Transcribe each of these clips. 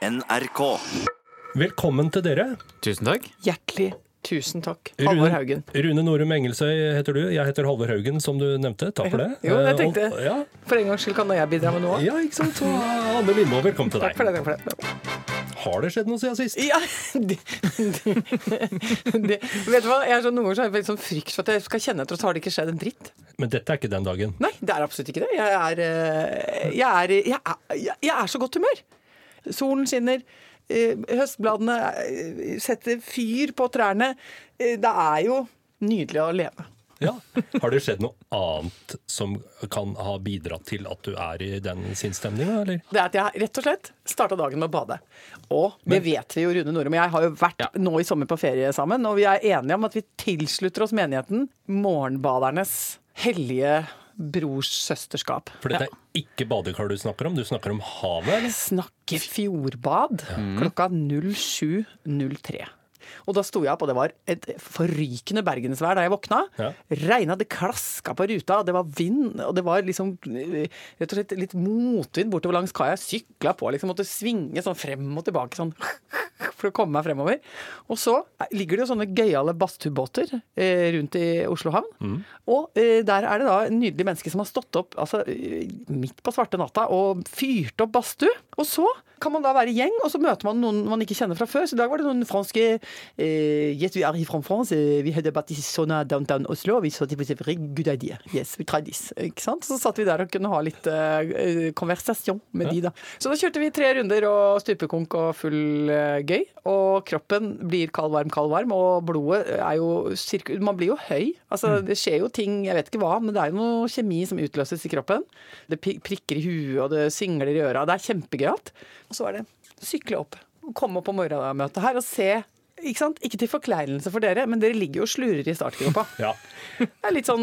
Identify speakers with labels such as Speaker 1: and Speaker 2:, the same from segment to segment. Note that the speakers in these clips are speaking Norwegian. Speaker 1: NRK.
Speaker 2: Velkommen til dere.
Speaker 3: Tusen takk.
Speaker 4: Hjertelig tusen takk.
Speaker 2: Rune-
Speaker 4: Halvor Haugen.
Speaker 2: Rune Norum Engelsøy heter du. Jeg heter Halvor Haugen, som du nevnte. Takk for det.
Speaker 4: Jo, jeg
Speaker 2: Eh, og-
Speaker 4: tenkte
Speaker 2: Ja,
Speaker 4: For en gangs skyld kan nå jeg bidra med noe.
Speaker 2: ja ikke sant. Og Anne Lindmo, velkommen til
Speaker 4: Takk for
Speaker 2: deg.
Speaker 4: det. Takk for det.
Speaker 2: Har det skjedd noe siden sist?
Speaker 4: Ja, det, det, vet du hva? Jeg er sånn, noen ganger så har jeg veldig sånn frykt for at jeg skal kjenne etter, og så har det ikke skjedd en dritt.
Speaker 2: Men dette er ikke den dagen.
Speaker 4: Nei, det er absolutt ikke det. Jeg er, eh, jeg er, jeg er, jeg- jeg er så godt humør. Solen skinner. eh, Høstbladene eh, setter fyr på trærne. Eh, Det er jo nydelig å leve.
Speaker 2: Ja. Har det skjedd noe annet som kan ha bidratt til at du er i den sinnsstemninga, eller?
Speaker 4: Det er at jeg rett og slett starta dagen med å bade. Og det vet vi jo, Rune Norum og jeg har jo vært nå i sommer på ferie sammen, og vi er enige om at vi tilslutter oss menigheten morgenbadernes hellige brorssøsterskap.
Speaker 2: For dette er ikke badekar du snakker om, du snakker om havet. eller?
Speaker 4: snakke fjordbad klokka 07.03. Og da sto jeg opp, og det var et forrykende bergensvær da jeg våkna.
Speaker 2: Ja.
Speaker 4: Regna, det klaska på ruta, og det var vind, og det var liksom eh, rett og slett litt motvind bortover langs kaia. Jeg Sykla på, liksom måtte svinge sånn frem og tilbake sånn for å komme meg fremover. Og så ligger det jo sånne gøyale badstuebåter eh, rundt i Oslo havn. Og eh, der er det da en nydelig menneske som har stått opp altså, eh, midt på svarte natta og fyrt opp badstue. Og så kan man da være i gjeng, og så møter man noen man ikke kjenner fra før. Så i dag var det noen franske eh, Yes, we are from France. eh, We had a batisona downtown Oslo. og Vi så til very good idea. Yes, we tried this. Ikke sant? Så satt vi der og kunne ha litt eh, konversasjon med de, da. Så da kjørte vi tre runder og stupekonk og full eh, gøy. Og kroppen blir kald, varm, kald, varm. Og blodet eh, er jo sirku... Man blir jo høy. Altså, det skjer jo ting, jeg vet ikke hva, men det er jo noe kjemi som utløses i kroppen. Det pi- prikker i huet, og det singler i øra. Det er kjempegøyalt. Og så er det sykle opp. Komme opp på morgenmøtet her og se. Ikke sant? Ikke til forkleinelse for dere, men dere ligger jo og slurer i startgropa.
Speaker 2: Ja.
Speaker 4: Det er litt sånn,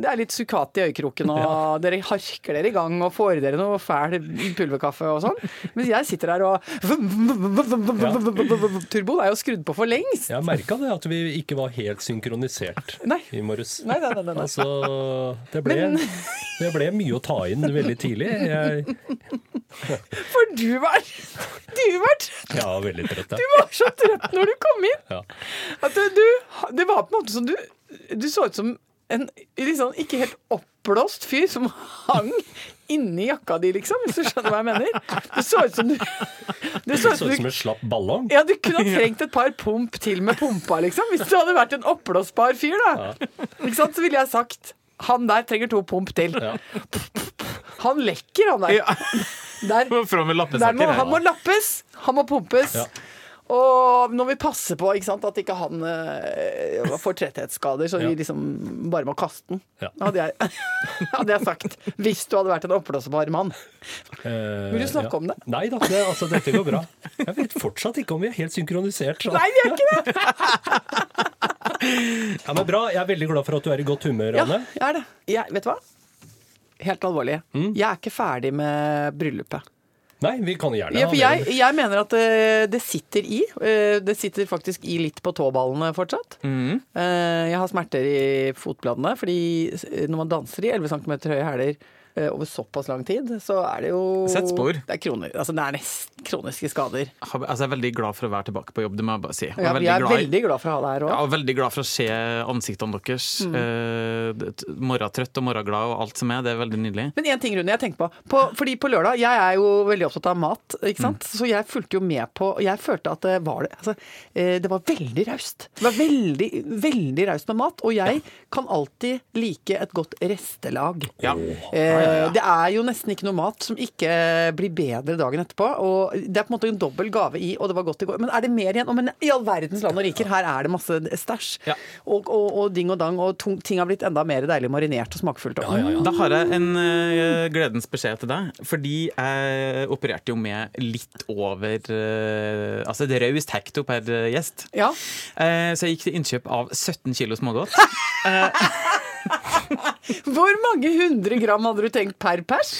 Speaker 4: det er litt sukkat i øyekroken, og dere harker dere i gang og får i dere noe fæl pulverkaffe og sånn. Mens jeg sitter her og Turboen er jo skrudd på for lengst.
Speaker 2: Jeg merka det, at vi ikke var helt synkronisert
Speaker 4: Nei.
Speaker 2: i morges.
Speaker 4: Nei, nei, nei, nei, nei.
Speaker 2: Altså, det ble, det ble mye å ta inn veldig tidlig. Jeg,
Speaker 4: For du var Du var, trøtt.
Speaker 2: jeg var veldig trøtt.
Speaker 4: du
Speaker 2: Jeg.
Speaker 4: var så trøtt når du kom inn!
Speaker 2: Ja.
Speaker 4: At du, du, det var på en måte som du Du så ut som en liksom, ikke helt oppblåst fyr som hang inni jakka di, liksom, hvis du skjønner hva jeg mener. Det så ut som du Det
Speaker 2: Det så ut som en slapp ballong.
Speaker 4: Ja, du kunne ha trengt et par pump til med pumpa, liksom. Hvis du hadde vært en oppblåsbar fyr, da. Ikke sant? Så ville jeg sagt han der trenger to pump til. Han lekker, han der.
Speaker 3: Ja.
Speaker 4: der,
Speaker 3: Må Fram med
Speaker 4: der
Speaker 3: lappesekken.
Speaker 4: må, han må lappes, han må pumpes.
Speaker 2: Ja.
Speaker 4: Og nå må vi passe på ikke sant, at ikke han eh, får tretthetsskader, så
Speaker 2: Ja.
Speaker 4: vi liksom bare må kaste den.
Speaker 2: Ja.
Speaker 4: Hadde, jeg, hadde jeg sagt. Hvis du hadde vært en oppblåsbar mann.
Speaker 2: Eh,
Speaker 4: Vil du snakke om det?
Speaker 2: Nei da, det, altså, dette går bra. Jeg vet fortsatt ikke om vi er helt synkronisert. så-
Speaker 4: Nei, vi er ikke det!
Speaker 2: Ja, men bra, Jeg er veldig glad for at du er i godt humør,
Speaker 4: Ja,
Speaker 2: Anne.
Speaker 4: jeg er det. Jeg, vet du hva? Helt alvorlig.
Speaker 3: Mm.
Speaker 4: Jeg er ikke ferdig med bryllupet.
Speaker 2: Nei, vi kan gjerne
Speaker 4: Ja, for
Speaker 2: ha
Speaker 4: jeg,
Speaker 2: det.
Speaker 4: jeg mener at eh, det sitter i. Eh, Det sitter faktisk i litt på tåballene fortsatt.
Speaker 3: Mm.
Speaker 4: Eh, Jeg har smerter i fotbladene, fordi eh, når man danser i 11 cm høye hæler eh, over såpass lang tid, så er det jo
Speaker 3: Sett spor.
Speaker 4: Det er, kroner, altså det er nesten kroniske skader.
Speaker 3: Har- Altså, jeg er veldig glad for å være tilbake på jobb, det må jeg bare si. Og
Speaker 4: Ja,
Speaker 3: veldig
Speaker 4: jeg er
Speaker 3: glad i-
Speaker 4: veldig glad for å ha deg her
Speaker 3: Jeg
Speaker 4: òg.
Speaker 3: er veldig glad for å se ansiktene deres.
Speaker 4: Mm.
Speaker 3: Eh, morgentrøtt og morgenglad og alt som er. Det er veldig nydelig.
Speaker 4: Men én ting, Rune, jeg tenker på. på. Fordi på lørdag Jeg er jo veldig opptatt av mat,
Speaker 3: Mm.
Speaker 4: ikke sant. Så jeg fulgte jo med på og Jeg følte at det var det. Altså, eh, det var veldig raust. Det var veldig, veldig raust med mat. Og jeg kan alltid like et godt restelag.
Speaker 3: Ja.
Speaker 4: Eh, det er jo nesten ikke noe mat som ikke blir bedre dagen etterpå. Og det er på en måte en dobbel gave i, og det var godt i går. Men er det mer igjen? Å, Men i all verdens land og riker, her er det masse stæsj.
Speaker 3: Ja.
Speaker 4: Og, og, og ding og dang, og tung, ting har blitt enda mer deilig marinert og smakfullt. Og,
Speaker 3: Da har jeg en eh, gledens beskjed til deg. Fordi jeg opererte jo med litt over eh, Altså et raust hekto per eh, gjest.
Speaker 4: Ja.
Speaker 3: Eh, så jeg gikk til innkjøp av 17 kilo smågodt.
Speaker 4: Hvor mange hundre gram hadde du tenkt per pers?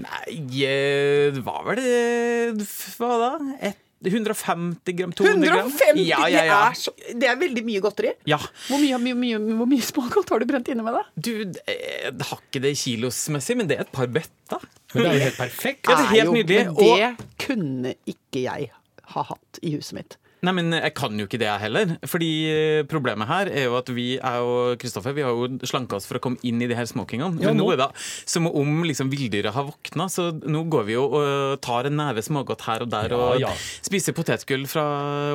Speaker 3: Nei, eh, det var vel det eh, Hva da? Et 150 gram, 200 gram.
Speaker 4: 150!
Speaker 3: Ja, ja, ja.
Speaker 4: Det, er så, det er veldig mye godteri.
Speaker 3: ja.
Speaker 4: Hvor mye, mye, mye, hvor mye smågodt har du brent inne med deg?
Speaker 3: Du, eh, det har ikke det kilosmessig, men det er et par bøtter.
Speaker 2: Men det er jo helt perfekt.
Speaker 3: Ja, det er helt
Speaker 4: jo-
Speaker 3: nydelig,
Speaker 4: men
Speaker 3: og-
Speaker 4: Det kunne ikke jeg ha hatt i huset mitt.
Speaker 3: Nei, men jeg kan jo ikke det jeg heller. Fordi eh, problemet her er jo at vi er jo Kristoffer, vi har jo slanka oss for å komme inn i de her smokingene. Men nå er det som om liksom villdyret har våkna, så nå går vi jo og eh, tar en neve smågodt her og der
Speaker 2: Ja,
Speaker 3: og
Speaker 2: ja.
Speaker 3: spiser potetgull fra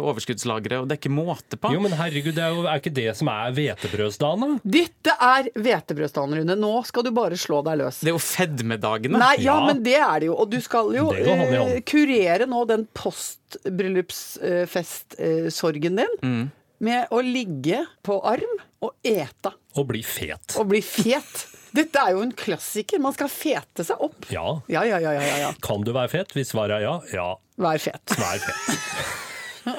Speaker 3: overskuddslageret, og det er ikke måte på.
Speaker 2: Jo, men herregud, det er jo er ikke det som er hvetebrødsdagen, da?
Speaker 4: Dette er hvetebrødsdagen, Rune. Nå skal du bare slå deg løs.
Speaker 3: Det er jo fedmedagene.
Speaker 4: Nei, ja,
Speaker 2: Ja.
Speaker 4: men det er det jo. Og du skal jo
Speaker 2: Det går hånd i hånd.
Speaker 4: eh, kurere nå den postbryllupsfestsorgen din
Speaker 3: Mm.
Speaker 4: med å ligge på arm og ete
Speaker 2: Å bli fet.
Speaker 4: og bli fet. Dette er jo en klassiker. Man skal fete seg opp.
Speaker 2: Ja.
Speaker 4: Ja, ja, ja. ja, ja, ja.
Speaker 2: Kan du være fet? Hvis svaret er ja, ja,
Speaker 4: Vær fet.
Speaker 2: vær fet.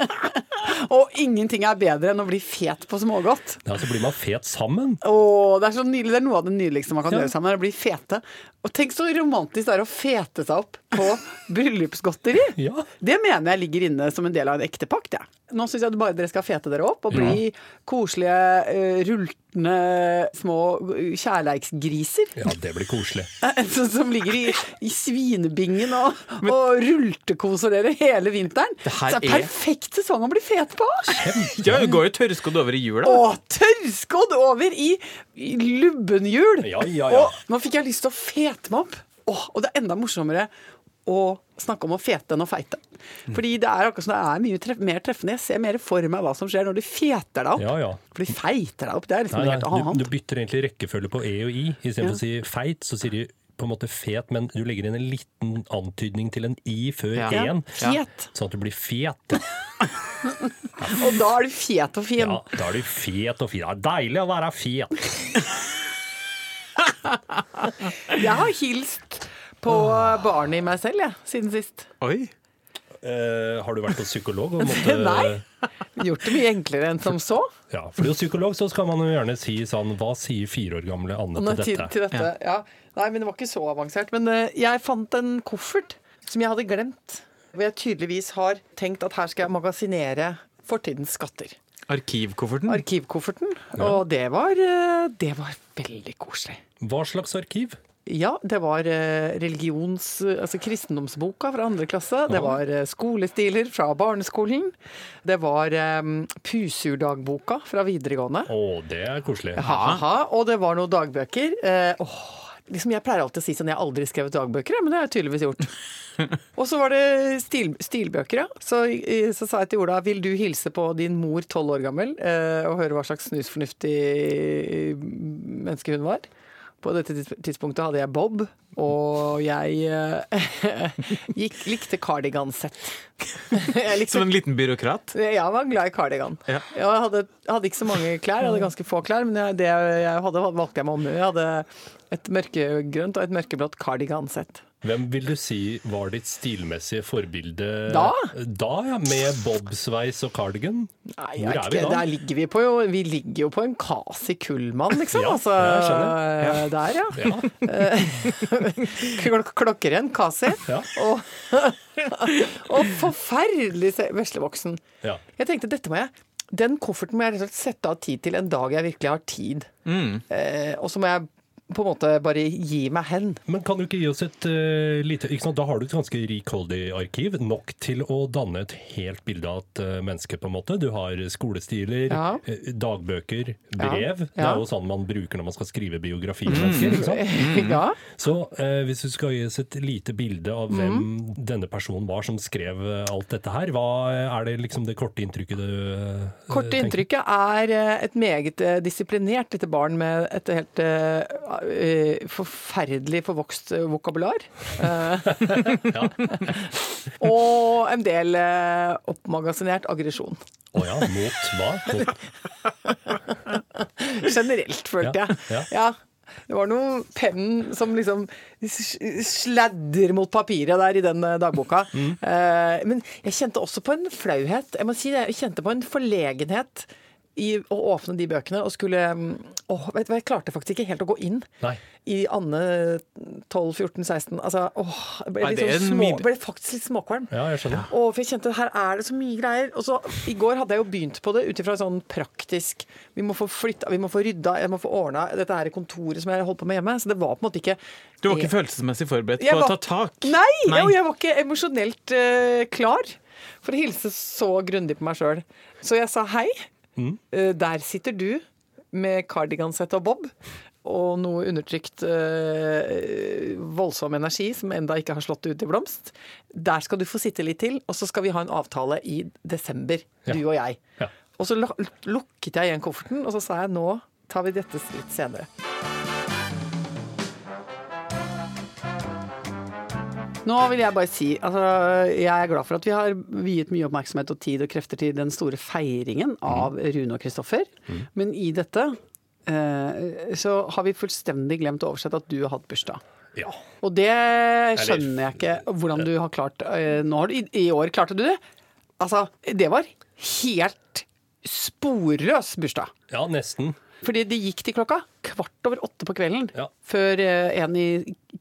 Speaker 4: Og ingenting er bedre enn å bli fet på smågodt.
Speaker 2: Ja, så blir man fet sammen.
Speaker 4: Åh, det er så nydelig. Det er noe av det nydeligste man kan
Speaker 2: Ja.
Speaker 4: gjøre sammen, er å bli fete. Og tenk så romantisk det er å fete seg opp på bryllupsgodteri.
Speaker 2: Ja.
Speaker 4: Det mener jeg ligger inne som en del av en ekte pakt. jeg. Nå syns jeg at bare dere skal fete dere opp og bli koselige, eh, rultende små eh, kjærleiksgriser.
Speaker 2: Ja, det blir koselig.
Speaker 4: Som Eh, som ligger i, i svinebingen og, og rultekoser dere hele vinteren.
Speaker 3: Det her
Speaker 4: Så det er
Speaker 3: er-
Speaker 4: perfekt sesong å bli fet på!
Speaker 3: Ja, det går jo tørrskodd over i jula.
Speaker 4: Og tørrskodd over i, i lubbenhjul!
Speaker 2: Ja, ja, ja.
Speaker 4: Og nå fikk jeg lyst til å fete meg opp. Åh, og det er enda morsommere å snakke om å fete enn å feite. Fordi det er akkurat som det er mye treff, mer treffende. Jeg ser mer for meg hva som skjer når du feter deg opp.
Speaker 2: Ja, ja.
Speaker 4: For du feiter deg opp, det er liksom
Speaker 2: Nei,
Speaker 4: noe
Speaker 2: nei,
Speaker 4: helt
Speaker 2: du,
Speaker 4: annet.
Speaker 2: du bytter egentlig rekkefølge på E og I. Istedenfor for å si feit, så sier de på en måte fet, men du legger inn en liten antydning til en I før
Speaker 3: Ja.
Speaker 4: Ja,
Speaker 2: E-en.
Speaker 4: fet.
Speaker 2: Sånn at du blir fet.
Speaker 4: Og da er du fet og fin.
Speaker 2: Ja, da er du fet og fin. Det er deilig å være fet.
Speaker 4: Jeg har hilst på barnet i meg selv, jeg, siden sist.
Speaker 3: Oi.
Speaker 2: Eh, har du vært hos psykolog? Og måtte,
Speaker 4: Nei. Gjort det mye enklere enn som så.
Speaker 2: Ja, for hos psykolog så skal man jo gjerne si sånn Hva sier fire år gamle Anne
Speaker 4: Nei,
Speaker 2: til
Speaker 4: til,
Speaker 2: dette?
Speaker 4: til dette. Ja. Nei, men det var ikke så avansert. Men eh, jeg fant en koffert som jeg hadde glemt. Hvor jeg tydeligvis har tenkt at her skal jeg magasinere fortidens skatter.
Speaker 3: Arkivkofferten.
Speaker 4: Arkivkofferten. Og det var, eh, det var veldig koselig.
Speaker 2: Hva slags arkiv?
Speaker 4: Ja, det var eh, religions... Altså kristendomsboka fra andre klasse. Det var eh, skolestiler fra barneskolen. Det var eh, pusurdagboka fra videregående.
Speaker 2: Å, det er koselig.
Speaker 4: Ha-ha. Og det var noen dagbøker. Eh, åh, liksom jeg pleier alltid å si sånn, jeg har aldri skrevet dagbøker, jeg, men det har jeg tydeligvis gjort. og så var det stil, stilbøker, ja. Så, eh, så sa jeg til Ola, vil du hilse på din mor tolv år gammel, eh, og høre hva slags snusfornuftig eh, menneske hun var? På dette tids- tidspunktet hadde jeg Bob, og jeg eh, gikk, likte cardigan-sett. Jeg likte
Speaker 3: Som en liten byråkrat.
Speaker 4: jeg var glad i cardigan.
Speaker 3: Ja.
Speaker 4: Jeg hadde, hadde ikke så mange klær, jeg hadde ganske få klær, men jeg, det jeg hadde, valgte jeg meg om. Jeg hadde et mørkegrønt og et mørkeblått cardigansett.
Speaker 2: Hvem vil du si var ditt stilmessige forbilde
Speaker 4: Da?
Speaker 2: Da, ja. Med bobsveis og cardigan?
Speaker 4: Nei,
Speaker 2: Hvor
Speaker 4: jeg
Speaker 2: er
Speaker 4: vet
Speaker 2: vi
Speaker 4: ikke,
Speaker 2: da?
Speaker 4: Der ligger vi på jo Vi ligger jo på en Kasi Kullmann, liksom.
Speaker 2: Ja,
Speaker 4: altså, eh,
Speaker 2: jeg
Speaker 4: Der, ja.
Speaker 2: Ja,
Speaker 4: Klok klokker igjen, Kasi.
Speaker 2: Ja.
Speaker 4: Og, og forferdelig se- veslevoksen.
Speaker 2: ja.
Speaker 4: Jeg tenkte dette må jeg Den kofferten må jeg rett og slett sette av tid til en dag jeg virkelig har tid.
Speaker 2: Mm.
Speaker 4: Eh, og så må jeg på en måte bare gi meg hen.
Speaker 2: Men kan du ikke gi oss et eh, lite ikke sant? Da har du et ganske rikholdig arkiv, nok til å danne et helt bilde av et eh, menneske, på en måte. Du har skolestiler,
Speaker 4: Ja.
Speaker 2: eh, dagbøker, brev. Det
Speaker 4: ja. Mm.
Speaker 2: er jo sånn man bruker når man skal skrive biografi. om mennesker, ikke sant? Mm.
Speaker 4: Ja.
Speaker 2: Så eh, hvis du skal gi oss et lite bilde av
Speaker 4: Mhm.
Speaker 2: hvem denne personen var som skrev eh, alt dette her, hva er det liksom det korte inntrykket du eh,
Speaker 4: Korte
Speaker 2: tenker?
Speaker 4: inntrykket er eh, et meget eh, disiplinert lite barn med et helt eh, eh, forferdelig forvokst eh, vokabular. Eh, og en del eh, oppmagasinert aggresjon.
Speaker 2: Å ja, mot hva? Mot,
Speaker 4: Generelt, følte
Speaker 2: Ja,
Speaker 4: jeg.
Speaker 2: ja.
Speaker 4: Ja. Det var noe pennen som liksom sl- sladder mot papiret der i den eh, dagboka.
Speaker 3: Mm.
Speaker 4: Eh, Men jeg kjente også på en flauhet. Jeg må si det, jeg kjente på en forlegenhet
Speaker 5: i å åpne de bøkene og skulle mm, Åh, vet du hva, jeg klarte faktisk ikke helt å gå inn
Speaker 2: Nei.
Speaker 5: i Anne 12-14-16. Altså, åh, jeg ble,
Speaker 3: Nei,
Speaker 5: litt
Speaker 3: det er
Speaker 5: sånn
Speaker 3: en
Speaker 5: små,
Speaker 3: mye-
Speaker 5: ble faktisk litt småkvalm.
Speaker 2: Ja, jeg skjønner.
Speaker 5: Åh, for jeg kjente her er det så mye greier. Og så I går hadde jeg jo begynt på det ut ifra sånn praktisk Vi må få flytta, vi må få rydda, jeg må få ordna dette her kontoret som jeg holdt på med hjemme. Så det var på en måte ikke
Speaker 3: Du var ikke følelsesmessig forberedt
Speaker 5: Jeg
Speaker 3: på å
Speaker 5: var-
Speaker 3: ta tak?
Speaker 5: Nei!
Speaker 3: Nei.
Speaker 5: Og jeg var ikke emosjonelt eh, klar for å hilse så grundig på meg sjøl. Så jeg sa hei.
Speaker 2: Mm.
Speaker 5: Eh, der sitter du med kardigansett og bob. Og noe undertrykt eh, voldsom energi som enda ikke har slått ut i blomst. Der skal du få sitte litt til, og så skal vi ha en avtale i desember, du og jeg.
Speaker 2: Ja.
Speaker 5: Og så lu- lukket jeg igjen kofferten, og så sa jeg nå tar vi dette litt senere.
Speaker 4: Nå vil jeg bare si altså, jeg er glad for at vi har viet mye oppmerksomhet og tid og krefter til den store feiringen av Rune og Kristoffer. Men i dette eh, så har vi fullstendig glemt å oversette at du har hatt bursdag.
Speaker 2: Ja.
Speaker 4: Og det skjønner jeg ikke hvordan du har klart eh, nå har du, i, I år klarte du det. Altså, det var helt sporløs bursdag.
Speaker 2: ja, nesten.
Speaker 4: Fordi det gikk til klokka kvart over åtte på kvelden.
Speaker 2: Ja.
Speaker 4: Før eh, en i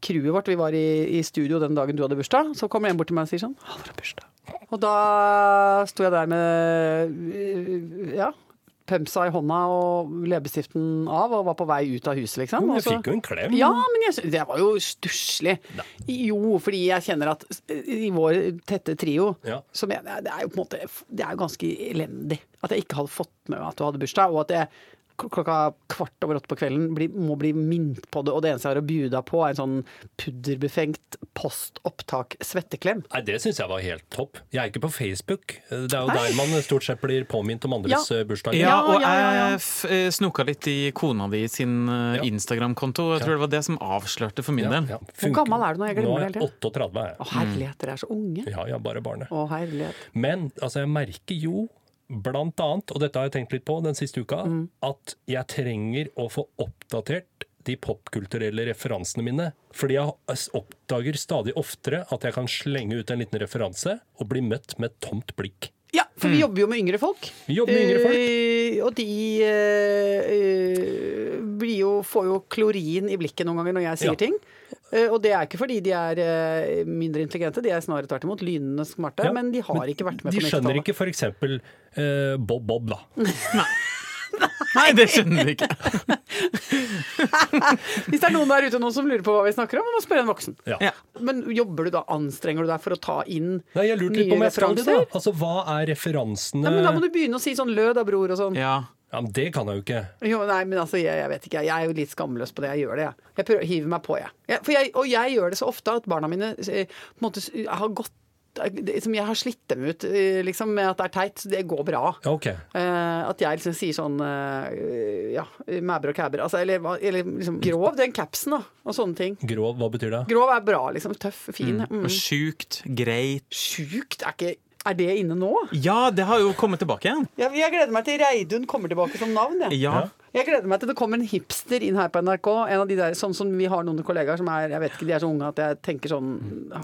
Speaker 4: crewet vårt, vi var i, i studio den dagen du hadde bursdag, så kommer en bort til meg og sier sånn Halvor har bursdag. Og da sto jeg der med eh, ja, pømsa i hånda og leppestiften av og var på vei ut av huset, liksom.
Speaker 2: Men
Speaker 4: Og
Speaker 2: jeg
Speaker 4: så-
Speaker 2: fikk jo en klem.
Speaker 4: ja, men jeg, sy- det var jo stusslig. Jo, fordi jeg kjenner at s- i vår tette trio,
Speaker 2: Ja.
Speaker 4: så mener jeg det er jo på en måte Det er jo ganske elendig at jeg ikke hadde fått med meg at du hadde bursdag, og at jeg kl- klokka kvart over åtte på kvelden blir- må bli minnet på det, og det eneste jeg har å bjuda på, er en sånn pudderbefengt postopptak-svetteklem.
Speaker 2: Nei, Det syns jeg var helt topp. Jeg er ikke på Facebook. Det er jo der man stort sett blir påminnet om andres
Speaker 4: Ja.
Speaker 2: eh, bursdager.
Speaker 3: Ja, og
Speaker 4: ja, ja, ja.
Speaker 3: jeg f- eh, snoka litt i kona di sin eh,
Speaker 2: Ja.
Speaker 3: Instagram-konto. Jeg tror det var det som avslørte for min
Speaker 2: Ja,
Speaker 3: del.
Speaker 2: ja.
Speaker 4: Hvor
Speaker 2: Funker-
Speaker 4: gammel er du når jeg
Speaker 2: Nå
Speaker 4: glemmer
Speaker 2: er
Speaker 4: det hele
Speaker 2: jeg
Speaker 4: tiden?
Speaker 2: 38. er
Speaker 4: Å
Speaker 2: jeg.
Speaker 4: herlighet, dere er så unge.
Speaker 2: Ja, ja, bare barnet.
Speaker 4: Å herlighet.
Speaker 2: Men altså, jeg merker jo blant annet, og dette har jeg tenkt litt på den siste uka,
Speaker 4: Mm.
Speaker 2: at jeg trenger å få oppdatert de popkulturelle referansene mine. Fordi jeg s- oppdager stadig oftere at jeg kan slenge ut en liten referanse og bli møtt med et tomt blikk.
Speaker 4: Ja, for vi jobber jo med yngre folk.
Speaker 2: Mm. Vi jobber med yngre folk.
Speaker 4: Eh, og de eh, eh, blir jo, får jo klorin i blikket noen ganger når jeg sier
Speaker 2: Ja.
Speaker 4: ting. Eh, og det er ikke fordi de er eh, mindre intelligente, de er snarere tvert imot lynende smarte.
Speaker 2: Ja,
Speaker 4: Men de har ikke vært med
Speaker 2: De
Speaker 4: på Mm.
Speaker 2: skjønner
Speaker 4: 90-tallet.
Speaker 2: ikke f.eks. Uh, Bob Bob, da.
Speaker 3: Nei, det skjønner vi ikke.
Speaker 4: Hvis det er noen der ute nå som lurer på hva vi snakker om, må man spørre en voksen.
Speaker 2: Ja.
Speaker 3: Ja.
Speaker 4: Men jobber du da, anstrenger du deg for å ta inn
Speaker 2: Nei, jeg lurte litt på om
Speaker 4: nye
Speaker 2: jeg skal det. da. Eh.
Speaker 4: referanser?
Speaker 2: Altså, Hva er referansene
Speaker 4: Nei, men da må du begynne å si sånn lød av bror og sånn.
Speaker 3: Ja.
Speaker 2: Ja, men Det kan jeg jo ikke.
Speaker 4: Jo, nei, men altså, jeg, jeg vet ikke. Jeg er jo litt skamløs på det. Jeg gjør det, jeg. Jeg prøver, hiver meg på, jeg. jeg, for jeg. Og jeg gjør det så ofte at barna mine eh, på en måte s- har gått eh, det- som Jeg har slitt dem ut eh, liksom, med at det er teit. så Det går bra.
Speaker 2: Ja, ok.
Speaker 4: Eh, at jeg liksom sier sånn eh, ja, mæber og kæber. Altså, eller, hva- eller liksom grov, den capsen, da. Og sånne ting.
Speaker 2: Grov, hva betyr det?
Speaker 4: Grov er bra, liksom. Tøff, fin. Mm.
Speaker 3: Og sjukt, greit
Speaker 4: Sjukt er ikke Er det inne nå?
Speaker 3: Ja, det har jo kommet tilbake igjen.
Speaker 4: Jeg, jeg gleder meg til Reidun kommer tilbake som navn, jeg.
Speaker 3: Ja.
Speaker 4: Jeg gleder meg til det kommer en hipster inn her på NRK. En av de der, sånn som Vi har noen kollegaer som er jeg vet ikke, de er så unge at jeg tenker sånn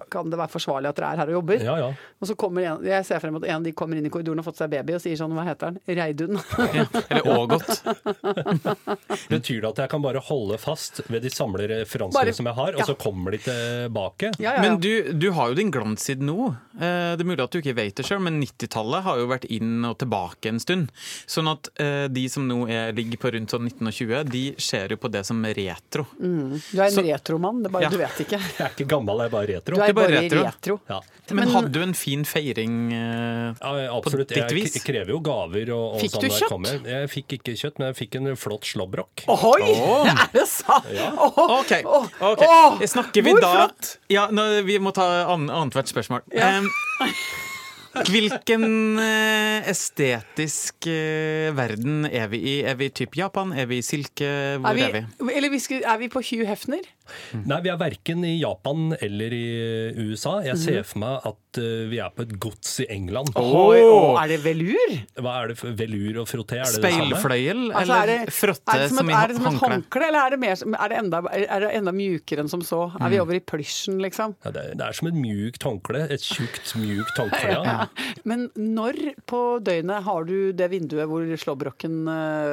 Speaker 4: Kan det være forsvarlig at dere er her og jobber?
Speaker 2: Ja, ja.
Speaker 4: Og så kommer en, Jeg ser frem at en av de kommer inn i korridoren og har fått seg baby og sier sånn Hva heter han? Reidun.
Speaker 3: Eller Ågot.
Speaker 2: Betyr det at jeg kan bare holde fast ved de samlede referansene
Speaker 4: Bare-
Speaker 2: som jeg har, og
Speaker 4: ja.
Speaker 2: så kommer de tilbake?
Speaker 4: Ja, ja, ja.
Speaker 3: Men du, du har jo din glanstid nå. Eh, Det er mulig at du ikke vet det sjøl, men 90-tallet har jo vært inn og tilbake en stund. Sånn at eh, de som nå er, ligger på rundt sånn 19 og 20, de ser jo på det som retro.
Speaker 4: du er en
Speaker 3: så-
Speaker 4: retromann, det er bare
Speaker 3: Ja.
Speaker 4: du vet ikke.
Speaker 2: Jeg er ikke gammel, jeg er bare retro.
Speaker 4: Du er
Speaker 3: bare
Speaker 4: bare
Speaker 3: retro.
Speaker 4: retro.
Speaker 2: Ja.
Speaker 3: Men hadde du en fin feiring? eh,
Speaker 2: Ja, absolutt.
Speaker 3: På ditt
Speaker 2: Jeg
Speaker 3: vis?
Speaker 2: k- krever jo gaver. Og, og
Speaker 4: Fikk
Speaker 2: sånn
Speaker 4: du
Speaker 2: når jeg
Speaker 4: kjøtt?
Speaker 2: kommer. Jeg fikk ikke kjøtt, men jeg fikk en flott slåbrok.
Speaker 4: Ohoi!
Speaker 3: Åh.
Speaker 4: Er det sant? Åh,
Speaker 3: OK.
Speaker 4: åh,
Speaker 3: ok.
Speaker 4: åh.
Speaker 3: Snakker vi
Speaker 4: Hvor
Speaker 3: da
Speaker 4: flott?
Speaker 3: ja, nå, Vi må ta ann- annethvert spørsmål. Em, hvilken eh, estetisk eh, verden er vi i? Er vi typ Japan? Er vi i silke? Hvor
Speaker 4: Er
Speaker 3: er vi?
Speaker 4: vi, eller vi skulle- er vi på Hugh Hefner?
Speaker 2: Nei, vi er verken i Japan eller i eh, USA. Jeg
Speaker 4: Mhm.
Speaker 2: ser for meg at eh, vi er på et gods i England.
Speaker 4: Oi, å, er det velur?
Speaker 2: Hva er det for velur og frotté? Er det det samme?
Speaker 3: Speilfløyel
Speaker 4: Altså, er
Speaker 3: eller
Speaker 4: det-
Speaker 3: frotte
Speaker 4: er det
Speaker 3: som
Speaker 4: et-
Speaker 3: i
Speaker 4: Er det som et
Speaker 3: håndkle?
Speaker 4: håndkle, eller er det, mer, som- er det, enda, er det enda mjukere enn som så? Er
Speaker 3: Mm.
Speaker 4: vi over i plysjen, liksom?
Speaker 2: Ja, det, er, det er som et mjukt håndkle. Et tjukt, mjukt håndkle. Ja.
Speaker 4: Men når på døgnet har du det vinduet hvor slåbroken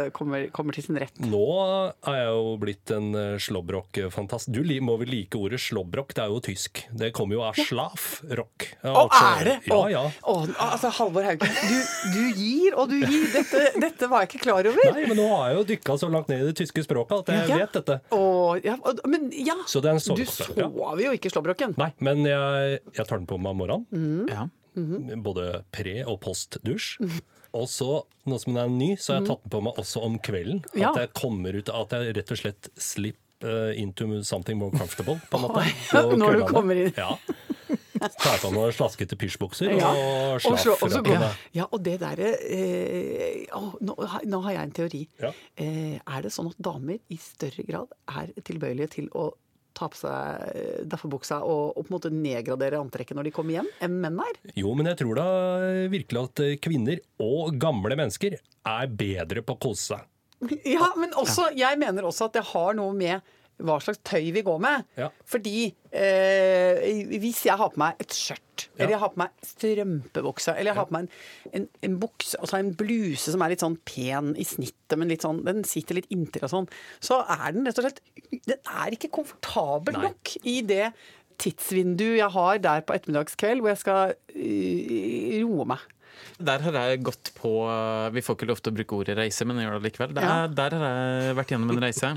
Speaker 4: eh, kommer, kommer til sin rett?
Speaker 2: Nå er jeg jo blitt en eh, slåbrok-fantast. Du li- må vel like ordet slåbrok, det er jo tysk. Det kommer jo av slaf rock. Ja,
Speaker 5: Å,
Speaker 2: altså-
Speaker 5: er det?
Speaker 2: Ja, ja.
Speaker 4: Å, altså, Halvor Haugen, du, du gir og du gir. Dette, dette var jeg ikke klar over.
Speaker 2: Nei, men nå har jeg jo dykka så langt ned i det tyske språket at jeg
Speaker 4: Ja.
Speaker 2: vet dette.
Speaker 4: Å, ja, og- men ja,
Speaker 2: Så det er en
Speaker 4: du
Speaker 2: sovekopp. ja.
Speaker 4: sover jo ikke slåbroken.
Speaker 2: Nei, men jeg, jeg tar den på meg om morgenen.
Speaker 3: Ja.
Speaker 4: Mm.
Speaker 2: Både pre- og postdusj. Og så, nå som den er ny, så har jeg tatt den på meg også om kvelden. At
Speaker 4: Mm. Ja.
Speaker 2: jeg kommer ut At jeg rett og slett slip eh, into something more comfortable, på en måte.
Speaker 4: Oi,
Speaker 2: på
Speaker 4: når du
Speaker 2: kveldene.
Speaker 4: kommer inn.
Speaker 2: Ja. Tar jeg på meg noen slaskete pysjbukser
Speaker 4: Ja.
Speaker 2: og
Speaker 4: Og slå- og så går-
Speaker 2: slaffrakkene.
Speaker 4: Ja, og det derre eh, å, nå, har- nå har jeg en teori.
Speaker 2: Ja.
Speaker 4: Eh, er det sånn at damer i større grad er tilbøyelige til å ta på seg eh, daffebuksa og, og på en måte nedgradere antrekket når de kommer hjem, enn menn er?
Speaker 2: Jo, men jeg tror da virkelig at eh, kvinner og gamle mennesker er bedre på å kose seg.
Speaker 4: Ja, men også, jeg mener også at det har noe med hva slags tøy vi går med.
Speaker 2: Ja.
Speaker 4: Fordi eh, hvis jeg har på meg et skjørt,
Speaker 2: Ja.
Speaker 4: eller jeg har på meg strømpebukse, eller jeg har på meg en, en, en bukse, altså en bluse som er litt sånn pen i snittet, men litt sånn, den sitter litt inntil og sånn, så er den rett og slett Den er ikke komfortabel nok i det tidsvinduet jeg har der på ettermiddagskveld hvor jeg skal eh, roe meg.
Speaker 3: Der har jeg gått på eh, Vi får ikke lov til å bruke ordet reise, men jeg gjør det likevel. Der,
Speaker 4: Ja.
Speaker 3: der har jeg vært gjennom en reise.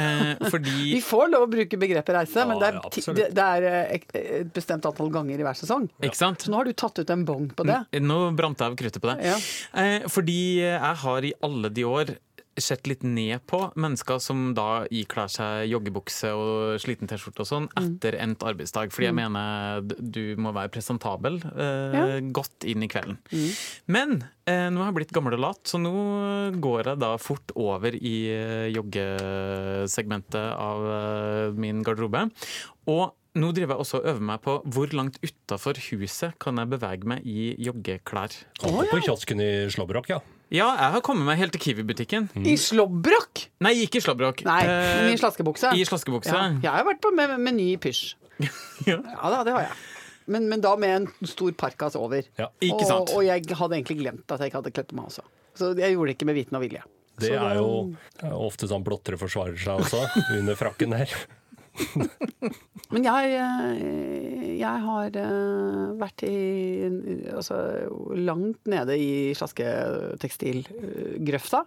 Speaker 3: Eh, fordi
Speaker 4: Vi får lov å bruke begrepet reise,
Speaker 2: Ja,
Speaker 4: men det er,
Speaker 2: ja,
Speaker 4: ti-
Speaker 2: absolutt.
Speaker 4: det, det er eh, ek- et bestemt antall ganger i hver sesong.
Speaker 3: Ikke sant? Mm.
Speaker 4: Så nå har du tatt ut en bong på det.
Speaker 3: Nå brant jeg av kruttet på det.
Speaker 4: Ja.
Speaker 3: Eh, fordi jeg har i alle de år sett litt ned på mennesker som da ikler seg joggebukse og sliten T-skjorte og sånn etter endt arbeidsdag. Fordi jeg mener d- du må være presentabel eh, godt inn i kvelden. Men eh, nå har jeg blitt gammel og lat, så nå går jeg da fort over i eh, joggesegmentet av eh, min garderobe. Og nå driver jeg også og øver meg på hvor langt utafor huset kan jeg bevege meg i joggeklær.
Speaker 2: Oppe på kiosken i Slåbrok, ja.
Speaker 3: Ja, jeg har kommet meg helt til Kiwi-butikken.
Speaker 4: I slåbrok!
Speaker 3: Nei, ikke i slåbrok.
Speaker 4: Nei,
Speaker 3: Eh,
Speaker 4: men i slaskebukse.
Speaker 3: I slaskebukse.
Speaker 4: Ja, jeg har vært på me- Meny i pysj.
Speaker 3: Ja.
Speaker 4: Ja da, det har jeg. Men, men da med en stor parkas over.
Speaker 2: ja.
Speaker 3: Ikke sant.
Speaker 4: Og, og jeg hadde egentlig glemt at jeg ikke hadde kledd på meg også. Så jeg gjorde det ikke med viten og vilje.
Speaker 2: Det er jo det er ofte sånn blottere forsvarer seg også, under frakken her.
Speaker 4: Men jeg, eh, jeg har eh, vært i altså, langt nede i slasketekstilgrøfta.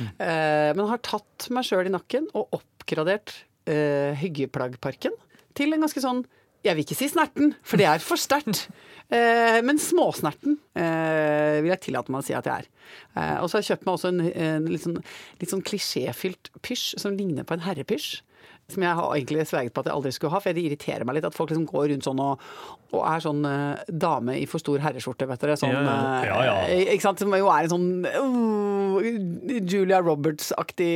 Speaker 4: Eh, Men har tatt meg sjøl i nakken og oppgradert eh, Hyggeplaggparken til en ganske sånn jeg vil ikke si snerten, for det er for sterkt. Eh, men småsnerten eh, vil jeg tillate meg å si at jeg er. Eh, og så har jeg kjøpt meg også en, en litt, sånn, litt sånn klisjéfylt pysj som ligner på en herrepysj. Som jeg har egentlig sverget på at jeg aldri skulle ha, for det irriterer meg litt at folk liksom går rundt sånn og, og er sånn eh, dame i for stor herreskjorte, vet dere. Sånn,
Speaker 3: Ja,
Speaker 2: ja. Ja, ja.
Speaker 4: eh, Ikke sant? Som jo er en sånn øh, Julia Roberts-aktig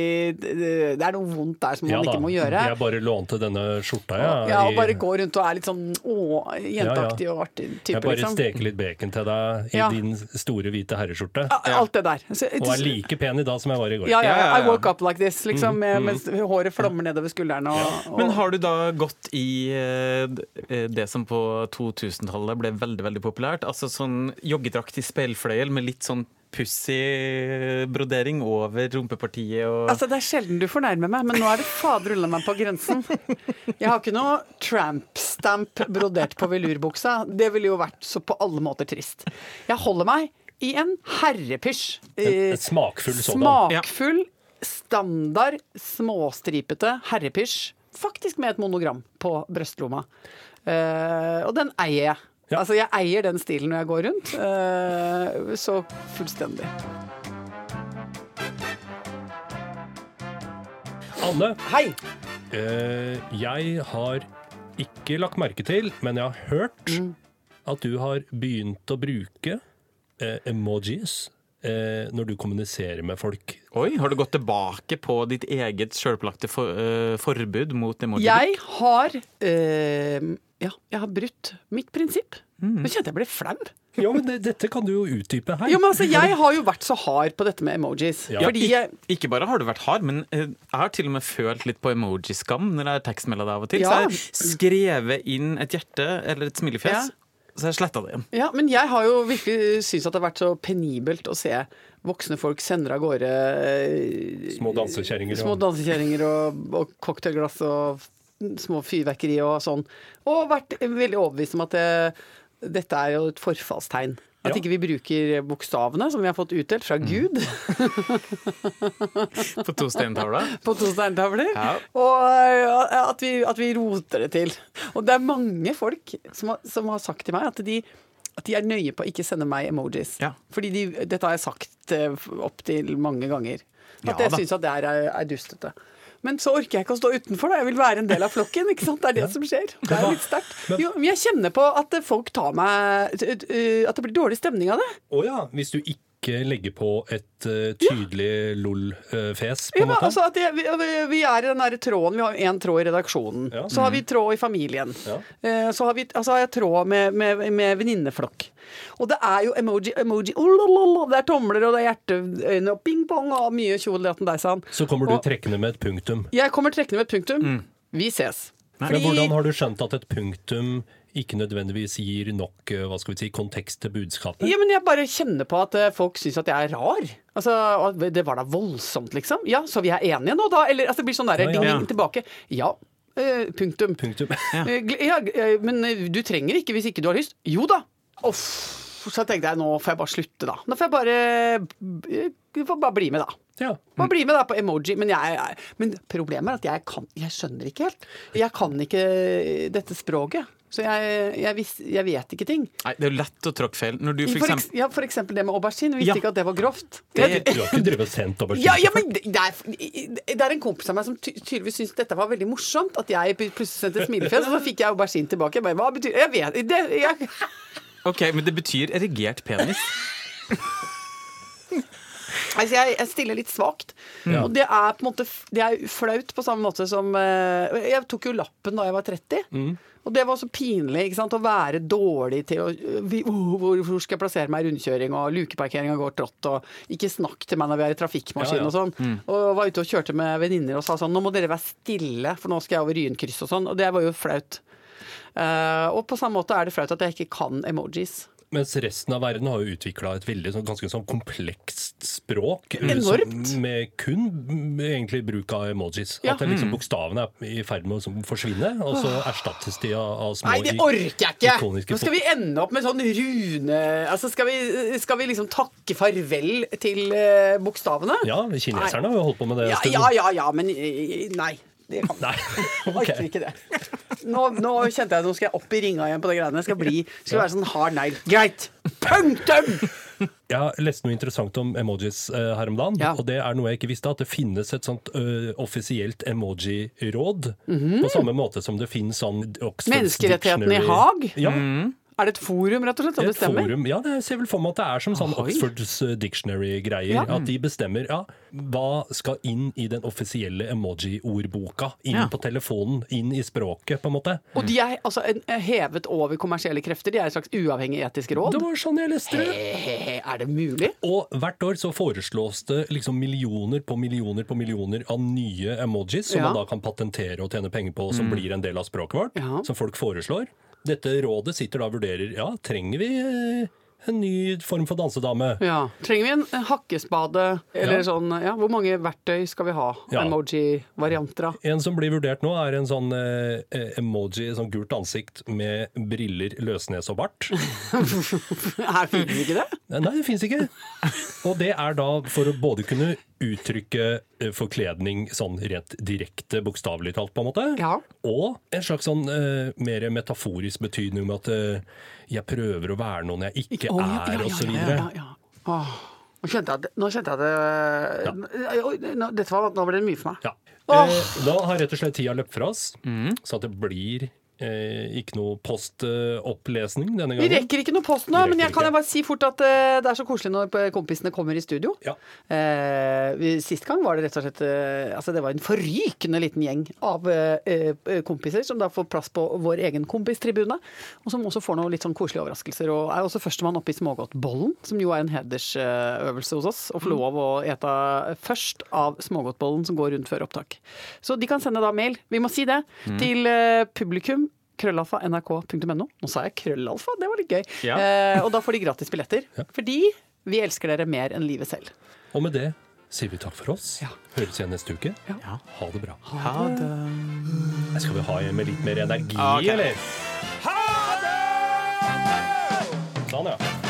Speaker 4: Det er noe vondt der som man
Speaker 2: Ja da,
Speaker 4: ikke må gjøre.
Speaker 2: Jeg bare lånte denne skjorta, ja.
Speaker 4: Ja, og
Speaker 2: i-
Speaker 4: bare gå rundt og er litt sånn å, jenteaktig
Speaker 2: Ja, ja.
Speaker 4: og artig type,
Speaker 2: jeg bare
Speaker 4: liksom.
Speaker 2: steker litt bacon til deg i
Speaker 4: Ja.
Speaker 2: din store hvite herreskjorte.
Speaker 4: Ja, Alt det der. Så,
Speaker 2: Og er like pen i dag som jeg var i går.
Speaker 4: ja, ja,
Speaker 3: Ja, ja, ja.
Speaker 4: I woke up like this, liksom.
Speaker 2: Mm,
Speaker 4: med- Mens håret flommer nedover skuldrene og, og
Speaker 3: Men har du da gått i eh, d- eh, det som på 2000-tallet ble veldig veldig populært? Altså sånn joggedrakt i speilfløyel med litt sånn pussig brodering over rumpepartiet og
Speaker 4: Altså, Det er sjelden du fornærmer meg, men nå er det fader ulla meg på grensen. Jeg har ikke noe tramp-stamp brodert på velurbuksa. Det ville jo vært så på alle måter trist. Jeg holder meg i en herrepysj.
Speaker 2: En- en
Speaker 4: Eh,
Speaker 2: smakfull sådan.
Speaker 4: Smakfull, standard, småstripete herrepysj. Faktisk med et monogram på brøstlomma. Eh, og den eier jeg.
Speaker 2: Ja.
Speaker 4: Altså, jeg eier den stilen når jeg går rundt. eh, så fullstendig.
Speaker 2: Anne,
Speaker 4: Hei!
Speaker 2: eh, jeg har ikke lagt merke til, men jeg
Speaker 4: Mm.
Speaker 2: har hørt at du har begynt å bruke eh, emojis eh, når du kommuniserer med folk.
Speaker 3: Oi, har du gått tilbake på ditt eget sjølpålagte for, eh, forbud mot emoji?
Speaker 4: Jeg har eh, Ja, jeg har brutt mitt prinsipp.
Speaker 2: Mm.
Speaker 4: Nå kjente jeg ble flau.
Speaker 2: Ja, men det, dette kan du jo utdype her.
Speaker 4: Jo, men altså, jeg har jo vært så hard på dette med emojis.
Speaker 2: Ja.
Speaker 4: Fordi jeg
Speaker 3: Ikke bare har du vært hard, men eh, jeg har til og med følt litt på emoji-skam når jeg har tekstmelda deg av og til.
Speaker 4: Ja.
Speaker 3: Så jeg har skrevet inn et hjerte eller et smilefjes,
Speaker 4: Ja.
Speaker 3: så har jeg sletta det igjen.
Speaker 4: Ja, men jeg har jo virkelig syntes at det har vært så penibelt å se voksne folk sender av gårde eh,
Speaker 2: Små dansekjerringer.
Speaker 4: små
Speaker 2: og-
Speaker 4: dansekjerringer og, og cocktailglass og små fyrverkeri og sånn. Og vært veldig overbevist om at det, dette er jo et forfallstegn. At
Speaker 2: Ja. Mm.
Speaker 4: ikke vi bruker bokstavene som vi har fått utdelt fra Gud
Speaker 3: På to steintavler.
Speaker 4: på to steintavler,
Speaker 3: Ja.
Speaker 4: og eh, at vi, at vi roter det til. Og det er mange folk som har, som har sagt til meg at de, at de er nøye på å ikke sende meg emojis.
Speaker 3: Ja.
Speaker 4: Fordi de, dette har jeg sagt eh, opptil mange ganger. At
Speaker 3: Ja
Speaker 4: jeg
Speaker 3: da.
Speaker 4: syns at det her er, er dustete. Men så orker jeg ikke å stå utenfor, da. Jeg vil være en del av flokken. ikke sant? Det er det som skjer. Det er litt sterkt. Jo, men jeg kjenner på at folk tar meg t- t- At det blir dårlig stemning av det.
Speaker 2: Å ja, hvis du ikke legger på et eh, tydelig lol-fes, på
Speaker 4: Ja,
Speaker 2: en
Speaker 4: men
Speaker 2: måte.
Speaker 4: altså at jeg, vi, vi er i den der tråden. Vi har én tråd i redaksjonen.
Speaker 2: Ja. Mm.
Speaker 4: Så har vi tråd i familien.
Speaker 2: Ja.
Speaker 4: Eh, Så har, vi, altså har jeg tråd med, med, med venninneflokk. Og det er jo emoji, emoji oh, la, la, la. Det er tomler, og det er hjerteøyne, og ping-pong, og mye tjolelatten deisan.
Speaker 2: Så kommer du
Speaker 4: Og-
Speaker 2: trekkende med et punktum.
Speaker 4: Jeg kommer trekkende med et punktum. Vi ses.
Speaker 2: Mm. Men hvordan har du skjønt at et punktum ikke nødvendigvis gir nok eh, hva skal vi si, kontekst til budskapet?
Speaker 4: Ja, men jeg bare kjenner på at eh, folk syns at jeg er rar. Altså, og at Det var da voldsomt, liksom. Ja, så vi er enige nå, da? Eller altså, det blir sånn der
Speaker 2: Ja, ja.
Speaker 4: ding, ding tilbake. Ja. eh, punktum.
Speaker 2: Punktum.
Speaker 4: Eh, gl- Ja, g- eh, men eh, du trenger ikke hvis ikke du har lyst. Jo da. Uff. Så tenkte jeg nå får jeg bare slutte, da. Nå får jeg bare, jeg får bare bli med, da.
Speaker 2: Ja.
Speaker 4: Bare bli med da på emoji. Men, jeg, jeg- men problemet er at jeg, kan, jeg skjønner ikke helt. Jeg kan ikke eh, dette språket. Så jeg, jeg, vis, jeg vet ikke ting.
Speaker 3: Nei, det er jo lett å tråkke feil. Når du for
Speaker 4: For,
Speaker 3: eksempel
Speaker 4: eks, ja, for eksempel det med aubergine.
Speaker 3: Ja.
Speaker 4: Visste ikke at det var grovt.
Speaker 3: Det-
Speaker 2: Du har ikke drevet og sendt over
Speaker 4: Ja, ja, men det det er, det er en kompis av meg som ty- tydeligvis syntes dette var veldig morsomt. At jeg pl- plutselig sendte smilefjes, og så fikk jeg aubergine tilbake. Jeg bare, hva betyr Jeg vet det, jeg,
Speaker 3: Ok, men det betyr erigert penis.
Speaker 4: altså jeg, jeg stiller litt svakt.
Speaker 2: Ja.
Speaker 4: Og det er på en måte f- Det er flaut på samme måte som eh, Jeg tok jo lappen da jeg var 30.
Speaker 2: Mm.
Speaker 4: Og det var så pinlig ikke sant? å være dårlig til å vi, oh, hvor, hvor skal jeg plassere meg i rundkjøring, og lukeparkeringa går trått, og ikke snakk til meg når vi er i trafikkmaskin
Speaker 2: Ja, Mm. ja.
Speaker 4: og sånn. Og var ute og kjørte med venninner og sa sånn Nå må dere være stille, for nå skal jeg over Ryenkrysset og sånn. Og det var jo flaut. Eh, og på samme måte er det flaut at jeg ikke kan emojis.
Speaker 2: Mens resten av verden har jo utvikla et veldig, sånn, ganske sånn komplekst språk. eh,
Speaker 4: Enormt.
Speaker 2: som- Med kun mm, egentlig bruk av emojis.
Speaker 4: Ja. Mm.
Speaker 2: At det liksom bokstavene er i ferd med å som forsvinne, og så erstattes de av, av små
Speaker 4: Nei, det
Speaker 2: i-
Speaker 4: orker jeg ikke!
Speaker 2: ikoniske
Speaker 4: Nå skal vi ende opp med sånn rune Altså, skal vi, skal vi liksom takke farvel til eh, bokstavene?
Speaker 2: Ja, kineserne har jo holdt på med det en
Speaker 4: ja,
Speaker 2: stund.
Speaker 4: ja, ja, ja, men eh, nei. Det kan
Speaker 2: Nei,
Speaker 4: Jeg
Speaker 2: ok.
Speaker 4: orker ikke det. Nå, nå kjente jeg at nå skal jeg opp i ringa igjen på de greiene. Jeg skal, bli, skal være sånn hard negl. Greit! Punktum!
Speaker 2: Jeg leste noe interessant om emojis eh, her om dagen,
Speaker 4: Ja.
Speaker 2: og det er noe jeg ikke visste, at det finnes et sånt ø, offisielt emoji-råd, på samme måte som det finnes sånn Oxford
Speaker 4: Mhm. Menneskerettighetene i
Speaker 2: Dictionary-
Speaker 4: Haag?
Speaker 2: Ja,
Speaker 4: Er det et forum, rett og slett, som
Speaker 2: et
Speaker 4: bestemmer?
Speaker 2: forum. Ja, det er- jeg ser vel for meg at det er som sånn
Speaker 4: Oi.
Speaker 2: Oxfords eh, Dictionary-greier,
Speaker 4: Ja.
Speaker 2: at de bestemmer ja, hva skal inn i den offisielle emoji-ordboka, inn
Speaker 3: Ja.
Speaker 2: på telefonen, inn i språket, på en måte.
Speaker 4: Og de er altså en- hevet over kommersielle krefter? De er et slags uavhengig etisk råd?
Speaker 2: Det var sånn jeg leste det.
Speaker 4: Eh, Er det mulig?
Speaker 2: Og hvert år så foreslås det liksom millioner på millioner på millioner av nye emojis som
Speaker 4: Ja. Mm.
Speaker 2: man da kan patentere og tjene penger på, som blir en del av språket vårt.
Speaker 4: Ja.
Speaker 2: Som folk foreslår. Dette rådet sitter da og vurderer ja, trenger vi eh, en ny form for dansedame?
Speaker 4: Ja. Trenger vi en, en hakkespade eller
Speaker 2: Ja.
Speaker 4: sånn? Ja, hvor mange verktøy skal vi ha?
Speaker 2: Ja.
Speaker 4: Emoji-varianter av?
Speaker 2: En som blir vurdert nå, er en sånn eh, eh, emoji, sånn gult ansikt med briller, løsnes og bart.
Speaker 4: Her finner vi ikke det?
Speaker 2: Nei, det fins ikke. Og det er da for å både kunne uttrykke eh, forkledning sånn rent direkte, bokstavelig talt, på en måte,
Speaker 4: Ja.
Speaker 2: og en slags sånn eh, mer metaforisk betydning med at eh, jeg prøver å være noen jeg ikke,
Speaker 4: Å,
Speaker 2: er, og så
Speaker 4: ja,
Speaker 2: videre.
Speaker 4: ja, ja. Åh, Nå kjente jeg at, nå kjente jeg at det- Oi, nå, dette var, nå ble det mye for meg. Mm.
Speaker 2: Ja. Eh, da har rett og slett tida løpt fra oss, så at det blir eh, ikke noe postopplesning denne
Speaker 4: Vi
Speaker 2: gangen.
Speaker 4: rekker ikke noe post
Speaker 2: Vi
Speaker 4: nå,
Speaker 2: rekker
Speaker 4: men jeg kan
Speaker 2: ikke.
Speaker 4: jeg bare si fort at eh, det er så koselig når eh, kompisene kommer i studio.
Speaker 2: Ja.
Speaker 4: Eh, vi- sist gang var det rett og slett eh, Altså, det var en forrykende liten gjeng av eh, eh, kompiser som da får plass på vår egen kompistribune, og som også får noen litt sånn koselige overraskelser. Og er også førstemann oppe i smågodtbollen, som jo er en hedersøvelse hos oss, å få lov å ete først av smågodtbollen som går rundt før opptak. Så de kan sende da mail, vi må si det, til eh, publikum. Krøllalfa nrk.no. Nå sa jeg krøllalfa, det var litt gøy.
Speaker 3: Ja.
Speaker 4: Eh, og da får de gratis billetter. Fordi vi elsker dere mer enn livet selv.
Speaker 2: Og med det sier vi takk for oss. Høres igjen neste uke.
Speaker 3: Ja.
Speaker 2: Ha det bra.
Speaker 3: Ha det.
Speaker 2: Skal vi ha en med litt mer energi,
Speaker 3: Ah, ok.
Speaker 2: eller? Ha det! Sånn, ja.